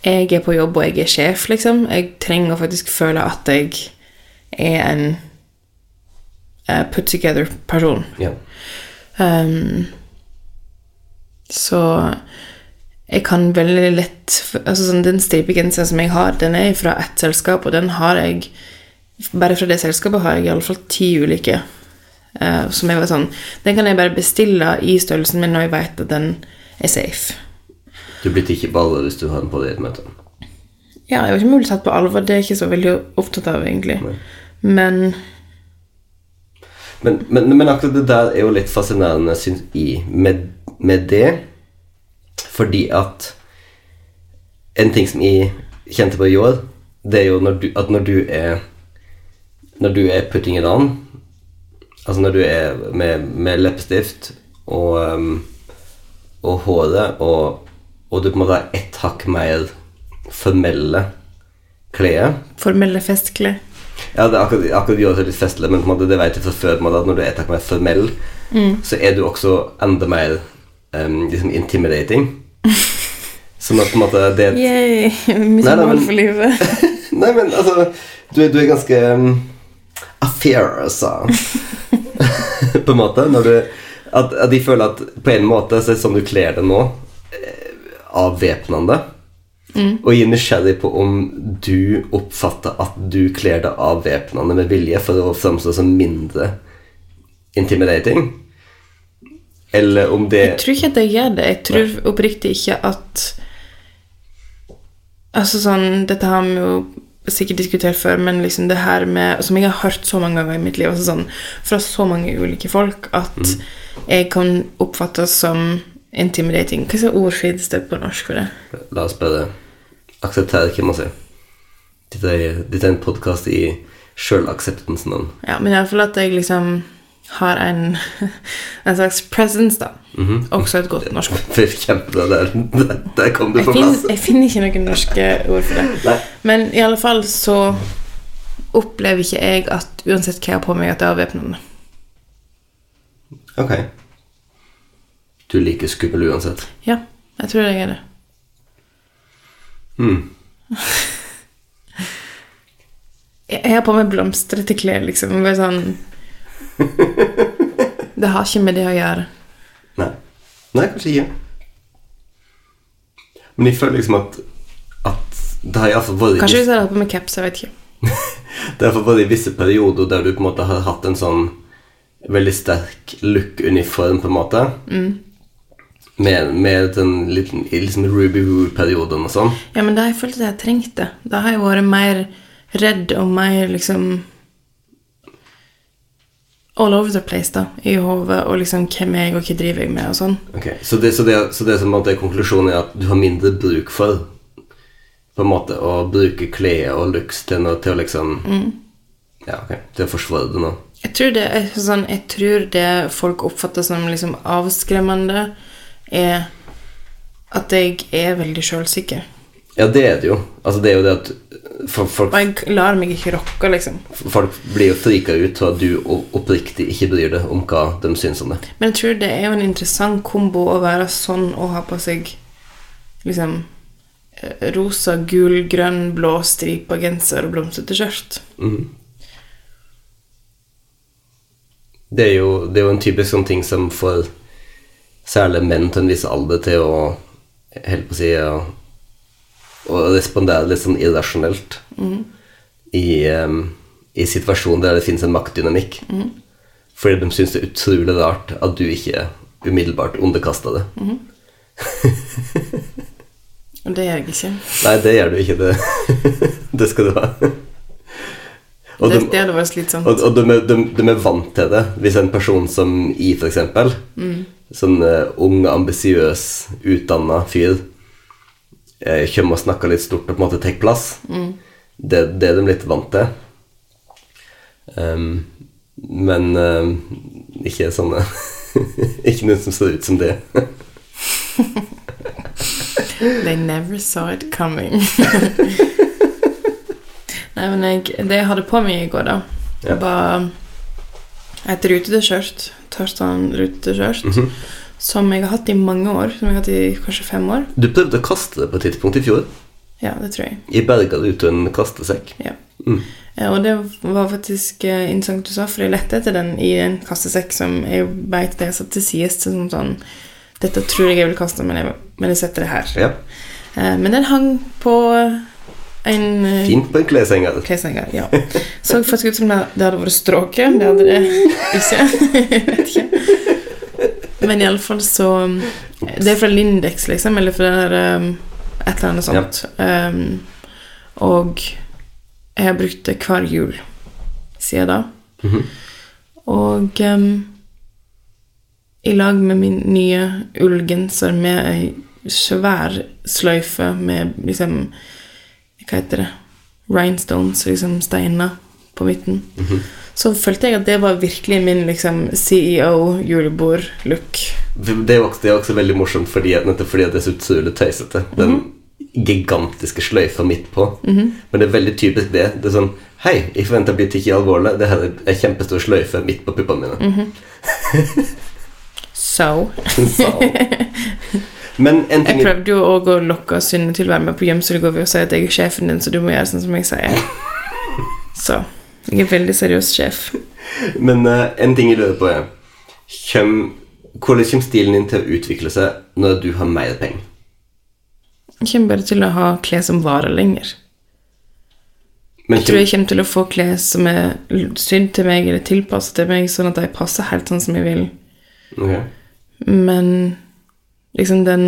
Jeg er på jobb, og jeg er sjef, liksom. Jeg trenger å faktisk føle at jeg er en eh, put together person.
Ja.
Um, Så jeg kan veldig lett altså sånn, Den stripegenseren som jeg har, den er fra ett selskap, og den har jeg Bare fra det selskapet har jeg iallfall ti ulike. eh, som jeg var sånn Den kan jeg bare bestille i størrelsen min når jeg vet at den er safe.
Du blir ikke på alvor hvis du har den på deg i et møte.
Ja, jeg var ikke mulig tatt på alvor. Det er jeg ikke så veldig opptatt av, egentlig.
Nei.
Men
Men, men, men akkurat det der er jo litt fascinerende, syns jeg, med, med det. Fordi at en ting som jeg kjente på i år, det er jo når du, at når du er Når du er putting it on, altså når du er med, med leppestift og, ehm, og håret, og, og du på en måte har ett hakk mer formelle klær
formelle festklær
ja, det er akkurat, akkurat gjør det litt festlig, men på en måte, det vet jeg fra før på en måte, at når du er takk mer formell, så er du også enda mer em, liksom intimidating. Sånn at på en måte det
Yay! [LAUGHS] Mye
Nei, nei, men-
for livet.
Nei, men altså Du, er- du er ganske um, affair, altså. på en måte. Når du at, at de føler at på en måte så er det sånn du kler det nå, eh, avvæpnende. Og jeg er nysgjerrig på om du oppfatter at du kler det avvæpnende med vilje for å framstå som mindre intimidating. Eller om det
Jeg tror ikke at jeg gjør det. Jeg tror oppriktig ikke at Altså sånn Dette har vi jo sikkert diskutert før, men liksom det her med Som jeg har hørt så mange ganger i mitt liv, altså sånn fra så mange ulike folk, at jeg kan oppfattes som intimidating. Hva er ord finnes det på norsk for det?
La oss bare akseptere hva man sier. Dette er, dette er en podkast i sjølakseptens navn. [LAUGHS]
Ja, men iallfall at jeg liksom har en, [LAUGHS] en slags presence, da. Også et godt norsk ord.
Fy, Kjempebra. Der, der, der kom du
Jeg
på
finner,
plass.
jeg finner ikke noen norske ord for det.
Nei.
Men i alle fall så opplever ikke jeg at uansett hva jeg har på meg, at jeg har væpnende.
Ok. Du er like skummel uansett.
Ja, jeg tror jeg er det.
Hmm.
Jeg jeg har på meg blomstrete klær, liksom. Bare sånn Det har ikke med det å gjøre.
Nei. Nei, kanskje ikke. Men jeg føler liksom at, at det har iallfall vært
Kanskje hvis jeg hadde hatt på meg caps, jeg vet ikke.
Det har vært i visse perioder der du på en måte har hatt en sånn veldig sterk look-uniform, på en måte. Med, med den liten, i liksom Ruby Woo-perioden og sånn.
Ja, men da har jeg følt at jeg har trengt det. Da har jeg vært mer redd og mer liksom All over the place, da, i hodet, og liksom hvem er jeg, og hva driver jeg med, og sånn.
Ok, Så det, så det, så det som på en måte er konklusjonen er at du har mindre bruk for på en måte å bruke klær og looks til, noe, til å liksom Ja, ok, til å forsvare det nå.
Jeg tror det, er sånn, jeg tror det folk oppfatter som liksom avskremmende, er at jeg er veldig sjølsikker.
Ja, det er det jo. Altså, det er jo det at for,
Og
folk,
jeg k- lar meg ikke rocke, liksom.
folk blir jo frika ut av at du o- oppriktig ikke bryr deg om hva de syns om det.
Men jeg tror det er jo en interessant kombo å være sånn og ha på seg liksom eh, rosa, gul, grønn, blå stripa genser og blomstrete skjørt.
Det er, jo, det er jo en typisk sånn ting som får særlig menn til en viss alder til å holdt på å si å, å respondere litt sånn irrasjonelt i, em, i situasjoner der det finnes en maktdynamikk. Fordi de syns det er utrolig rart at du ikke umiddelbart underkasta det.
Og det gjør jeg ikke.
Nei, det gjør du ikke. Det, [LAUGHS] det skal du ha. Og
det,
de-
det hadde vært slitsomt.
Og, og de, er- de, de er vant til det. Hvis en person som I, for eksempel, sånn eh, ung, ambisiøs, utdanna fyr, eh, kommer og snakker litt stort og på en måte tar plass, det, det er de litt vant til. Ehm, men eh, ikke sånne [LAUGHS] Ikke noen som ser ut som det.
They never saw it
[LAUGHS]
coming. Nei, men jeg, det jeg hadde på meg i går, da,
Ja.
var et rutete skjørt. Tarzan rutete skjørt.
Mm.
Som jeg har hatt i mange år. Som jeg har hatt i kanskje fem år.
Du prøvde å kaste det på et tidspunkt i fjor.
Ja, det tror jeg.
I berga det ut av en kastesekk.
Ja. Eh, Og det var faktisk eh, interessant du sa, for jeg lette etter den i en kassesekk som jeg vet det jeg satt til sist. Sånn, sånn, Dette tror jeg jeg vil kaste, men jeg, men jeg setter det her.
Ja.
Eh, men den hang på en eh,
Fint på en kleshenger.
kleshenger. Ja. Så faktisk ut som det, det hadde vært stråket. Det hadde det ikke. [LAUGHS] Jeg vet ikke. Men iallfall så um, Det er fra Lindex, liksom, eller fra det der, um, et eller annet sånt. Um, og jeg har brukt det hver jul siden da. Og um, i lag med min nye ullgenser med ei svær sløyfe med liksom Hva heter det? Rhinestones, liksom steiner på midten. Så følte jeg at det var virkelig min liksom, CEO-julebord-look.
Det er, også, det er også veldig morsomt, fordi at, nettopp fordi at det er så utrolig tøysete. Den
Mhm.
gigantiske sløyfa midt på. Men det er veldig typisk det. Det er sånn Hei, jeg forventa å bli tatt alvorlig. Det her er en kjempestor sløyfe midt på puppene mine.
So
[LAUGHS] Så. Men en
Mhm. Jeg
ting
prøvde jo òg å lokke Synne til å være med på gjemselgård ved å si at jeg er sjefen din, så du må gjøre sånn som jeg sier. Så jeg er veldig seriøs sjef.
Men eh, en ting jeg lurer på er kjem, Hvordan kommer stilen din til å utvikle seg når du har mer penger?
Jeg kommer bare til å ha klær som varer lenger.
Men
Jeg tror jeg kommer til å få klær som er l- sydd til meg, eller tilpasset til meg, sånn at de passer helt sånn som jeg vil.
kjem- ok.
Men liksom den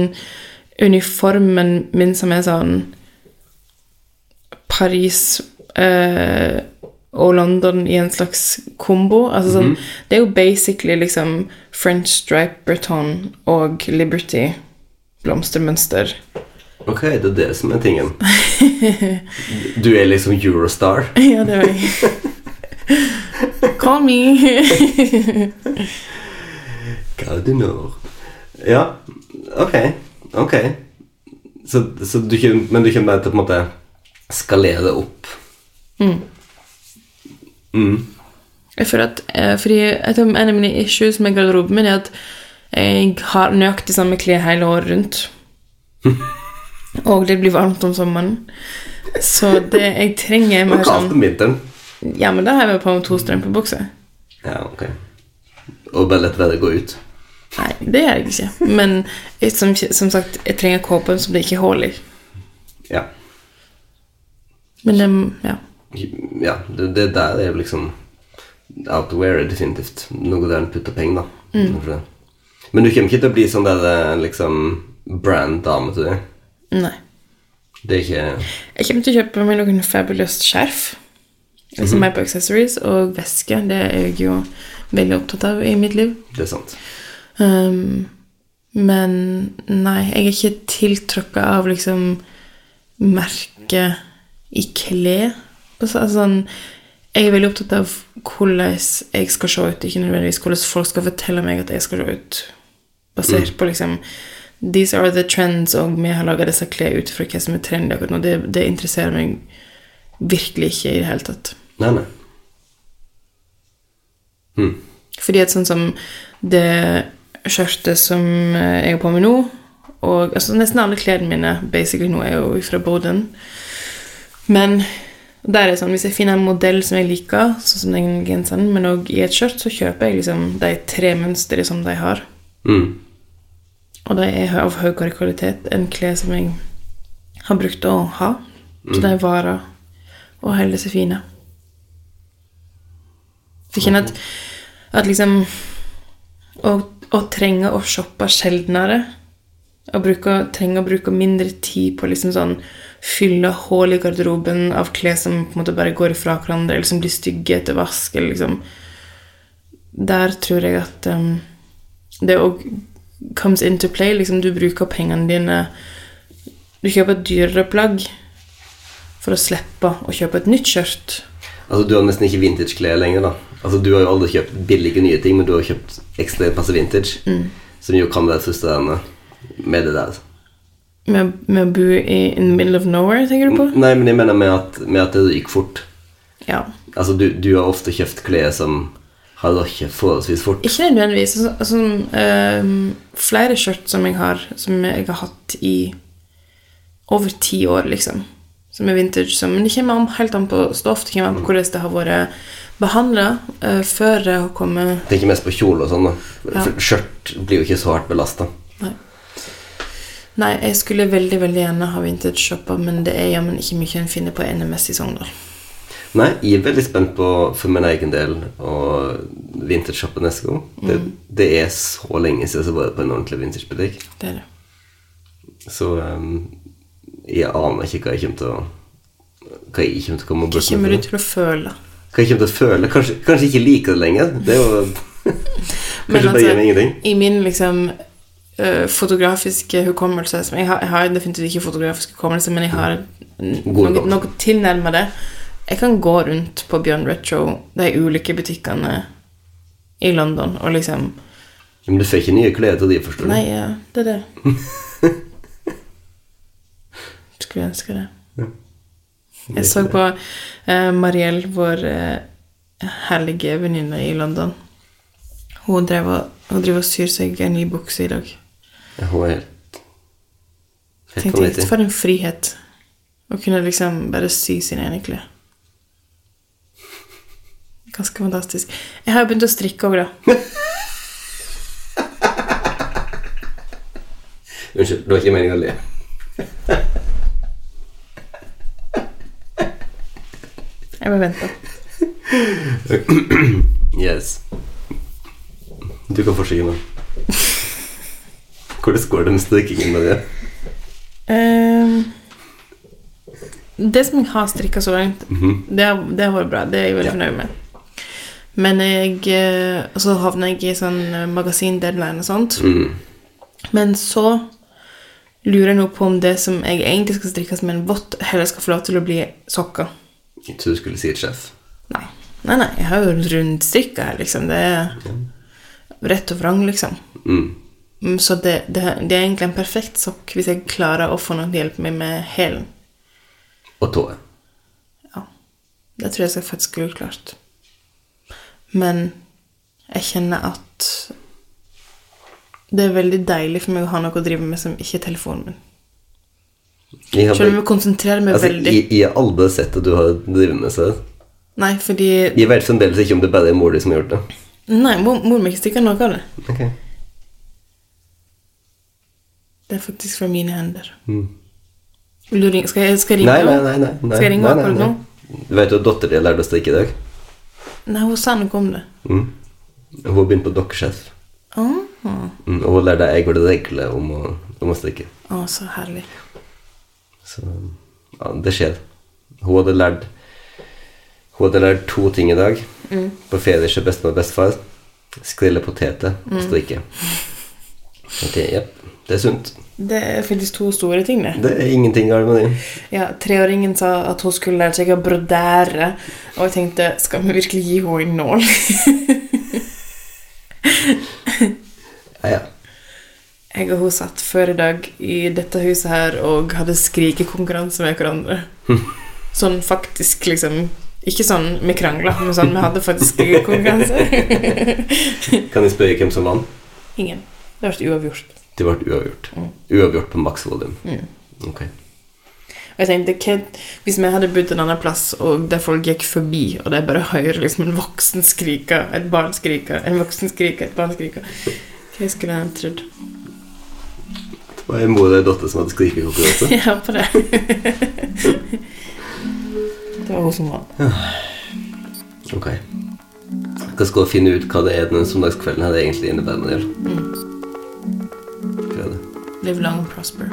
uniformen min som er sånn Paris eh, og London i en slags kombo. Altså sånn Det er jo basically liksom French stripe Breton og Liberty blomstermønster.
ok, det er det som er tingen. Du er liksom Eurostar.
[LAUGHS] ja, det var jeg. [LAUGHS] Call me!
Gardinor. Ja, ok. Ok. Så, så du kjem, men du kommer til å på en måte skalere det opp.
Jeg føler at, eh, fordi et av en av mine issues med garderoben min er at jeg har nøyaktig samme klær hele året rundt. Og det blir varmt om sommeren. Så det jeg trenger er
Og
mer
kaldt
sånn
om vinteren.
Ja, men da har jeg på meg to strømpebukser.
Ja, ok. Og bare lett været gå ut.
Nei, det gjør jeg ikke. Men jeg, som, som sagt, jeg trenger kåpen som det ikke er hull i.
Ja.
Men det, ja.
Ja, det, det der er jo liksom Outwear er definitivt noe der en putter penger, da. Kanskje det. Men du kommer ikke til å bli sånn der eh, liksom brand-dame til det.
Nei.
Det er ikke
Jeg kommer til å kjøpe meg noen fabuløst skjerf. Liksom meg på accessories og veske. Det er jeg jo veldig opptatt av i mitt liv.
Det er sant.
Um, men nei, jeg er ikke tiltrukket av liksom merket i klær. Altså, altså, sånn, jeg er veldig opptatt av hvordan jeg skal se ut, ikke nødvendigvis hvordan folk skal fortelle meg at jeg skal se ut. Basert på liksom These are the trends, og vi har laga disse klærne ut fra hva som er trendy akkurat nå. Det, det interesserer meg virkelig ikke i det hele tatt.
Nei, nei.
Fordi at sånn som det skjørtet som eh, jeg har på meg nå, og altså nesten alle klærne mine basically nå er jo fra Boden. Men der er det sånn, hvis jeg finner en modell som jeg liker, sånn som den genseren, men òg i et skjørt, så kjøper jeg liksom de tre mønstrene som de har.
Mm.
Og de er av høyere kvalitet enn klær som jeg har brukt å ha. Så de varer og holder seg fine. For jeg kjenner at, at liksom å, å trenge å shoppe sjeldnere og bruke, trenge å bruke mindre tid på liksom sånn fylle hull i garderoben av klær som på en måte bare går ifra hverandre, eller som blir stygge etter vask, eller liksom Der tror jeg at um, det òg comes into play. Liksom, du bruker pengene dine Du kjøper et dyrere plagg for å slippe å kjøpe et nytt skjørt.
Altså, du har nesten ikke vintage-klær lenger, da. Altså, du har jo aldri kjøpt billige nye ting, men du har kjøpt ekstremt masse vintage.
Mm.
Som jo kan være frustrerende med det der.
Med, med å bo i in the middle of nowhere, tenker du på?
Nei, men jeg mener med at, med at det ryker fort.
Ja.
Altså, du, du har ofte kjøpt klær som har røkket forholdsvis fort.
Ikke nødvendigvis. Altså, altså, ehm, flere skjørt som jeg har, som jeg har hatt i over ti år, liksom. Som er vintage. Som, men det kommer an, helt an på stoff, det kommer an på hvordan det har vært behandla før det har kommet
Tenker mest på kjole og sånn, da.
Ja.
For Skjørt blir jo ikke så hardt belasta.
Nei, jeg skulle veldig veldig gjerne ha vintage-shopper, men det er jammen ikke mye en finner på NMS i Sogndal.
Nei, jeg er veldig spent på for min egen del og vintage-shoppe neste gang. Det,
Mm.
det er så lenge siden jeg har vært på en ordentlig vintage-butikk.
Det er det.
Så ehm, jeg aner ikke hva jeg kommer til å Hva jeg kommer til å komme
Hva
bort
kommer
med.
du til å føle?
Hva jeg kommer til å føle. Kanskje, kanskje ikke like det lenger. Det er jo Kanskje
Men
bare
altså,
gir meg ingenting.
I min liksom eh, fotografiske hukommelse som jeg, har, jeg har definitivt ikke fotografisk hukommelse, men jeg har n-
God
noe, noe tilnærmede. Jeg kan gå rundt på Bjørn Retro, de ulike butikkene i London, og liksom
Men du får ikke nye klær til de, forstår du.
Nei, ja, det er det.
[LAUGHS]
Skulle ønske det. Jeg så på eh, Mariell, vår eh, herlige venninne i London. Hun drev og, hun driver og syr seg en ny bukse i dag.
Ja, Hun er helt Helt
Tenkte jeg,
vanvittig.
For en frihet. Å kunne liksom bare sy sine egne klær. Ganske fantastisk. Jeg har jo begynt å strikke òg, da.
Unnskyld, det var ikke meningen å le.
Jeg bare
[LAUGHS]
venter.
Yes. Du kan forsyne meg. Hvordan går det med strikkingen med det?
Ehm, det som jeg har strikka så langt,
Mhm.
det, har- det har vært bra. Det er jeg veldig
Ja.
fornøyd med. Men jeg eh, Og så havna jeg i sånn eh, magasin-deadline og sånt.
Mm.
Men så lurer jeg nå på om det som jeg egentlig skal strikke som en vått, heller skal få lov til å bli sokker.
Jeg trodde du skulle si et sjef.
Nei. Nei, nei, jeg har jo rundstrikka her, liksom. Det er rett og vrang, liksom.
Mm.
Mm, Så det, det, det er egentlig en perfekt sokk hvis jeg klarer å få noen til å hjelpe meg med hælen.
Og tåa.
Ja. Det tror jeg så jeg faktisk skulle klart. Men jeg kjenner at det er veldig deilig for meg å ha noe å drive med som ikke er telefonen min.
Jeg har,
Selv om jeg konsentrerer meg
altså,
veldig.
jeg, jeg har aldri sett at du har drevet med sånn.
Nei, fordi
Jeg vet fremdeles ikke om det bare er mor di som har gjort det.
Nei, mor, mor mi stikker noe av det.
Ok.
Det er faktisk fra mine hender.
Mm.
Vil du ringe? Skal jeg, skal jeg ringe?
Nei, nei,
henne?
nei. nei, nei.
Skal jeg ringe
Nei,
akkurat
nei,
nå?
nei. Du vet jo at datteren din lærte å strikke i dag.
Nei, hun sa noe om det.
Mm. Hun har begynt på dokkesjef.
Å,
Mm. Og hun lærte jeg hvordan reglene om å, om å strikke.
Å, så herlig.
Så ja, det skjer. Hun hadde lært Hun hadde lært to ting i dag.
Mm.
På ferie ikke bestemor og bestefar. Skrille poteter
Mm.
og strikke. Ok, jepp. Det er sunt.
Det er faktisk to store ting, det.
Det er ingenting galt med det.
Ja, Treåringen sa at hun skulle lære seg å brodere, og jeg tenkte skal vi virkelig gi henne en nål? [LAUGHS]
Ja, ja.
Jeg og hun satt før i dag i dette huset her og hadde skrikekonkurranse med hverandre. Sånn faktisk, liksom Ikke sånn vi krangla, men sånn vi hadde faktisk skrikekonkurranse.
Kan jeg spørre hvem som vant?
Ingen. Det ble uavgjort.
Det ble uavgjort. Uavgjort på maks volum. Ok.
Og jeg tenkte, hva, Hvis vi hadde bodd en annen plass og der folk gikk forbi, og de bare hører liksom en voksen skrike, et barn skrike, en voksen skrike, et barn skrike Hva skulle jeg trodd?
Det var en mor og en datter som hadde skrikekonkurranse.
Jeg håper det. det var hun som vant.
Ok. Jeg skal finne ut hva det er den søndagskvelden her egentlig innebærer. Daniel. Gjør det.
Mm. Live long and prosper.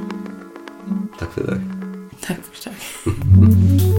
Takk for i dag.
Takk for i dag.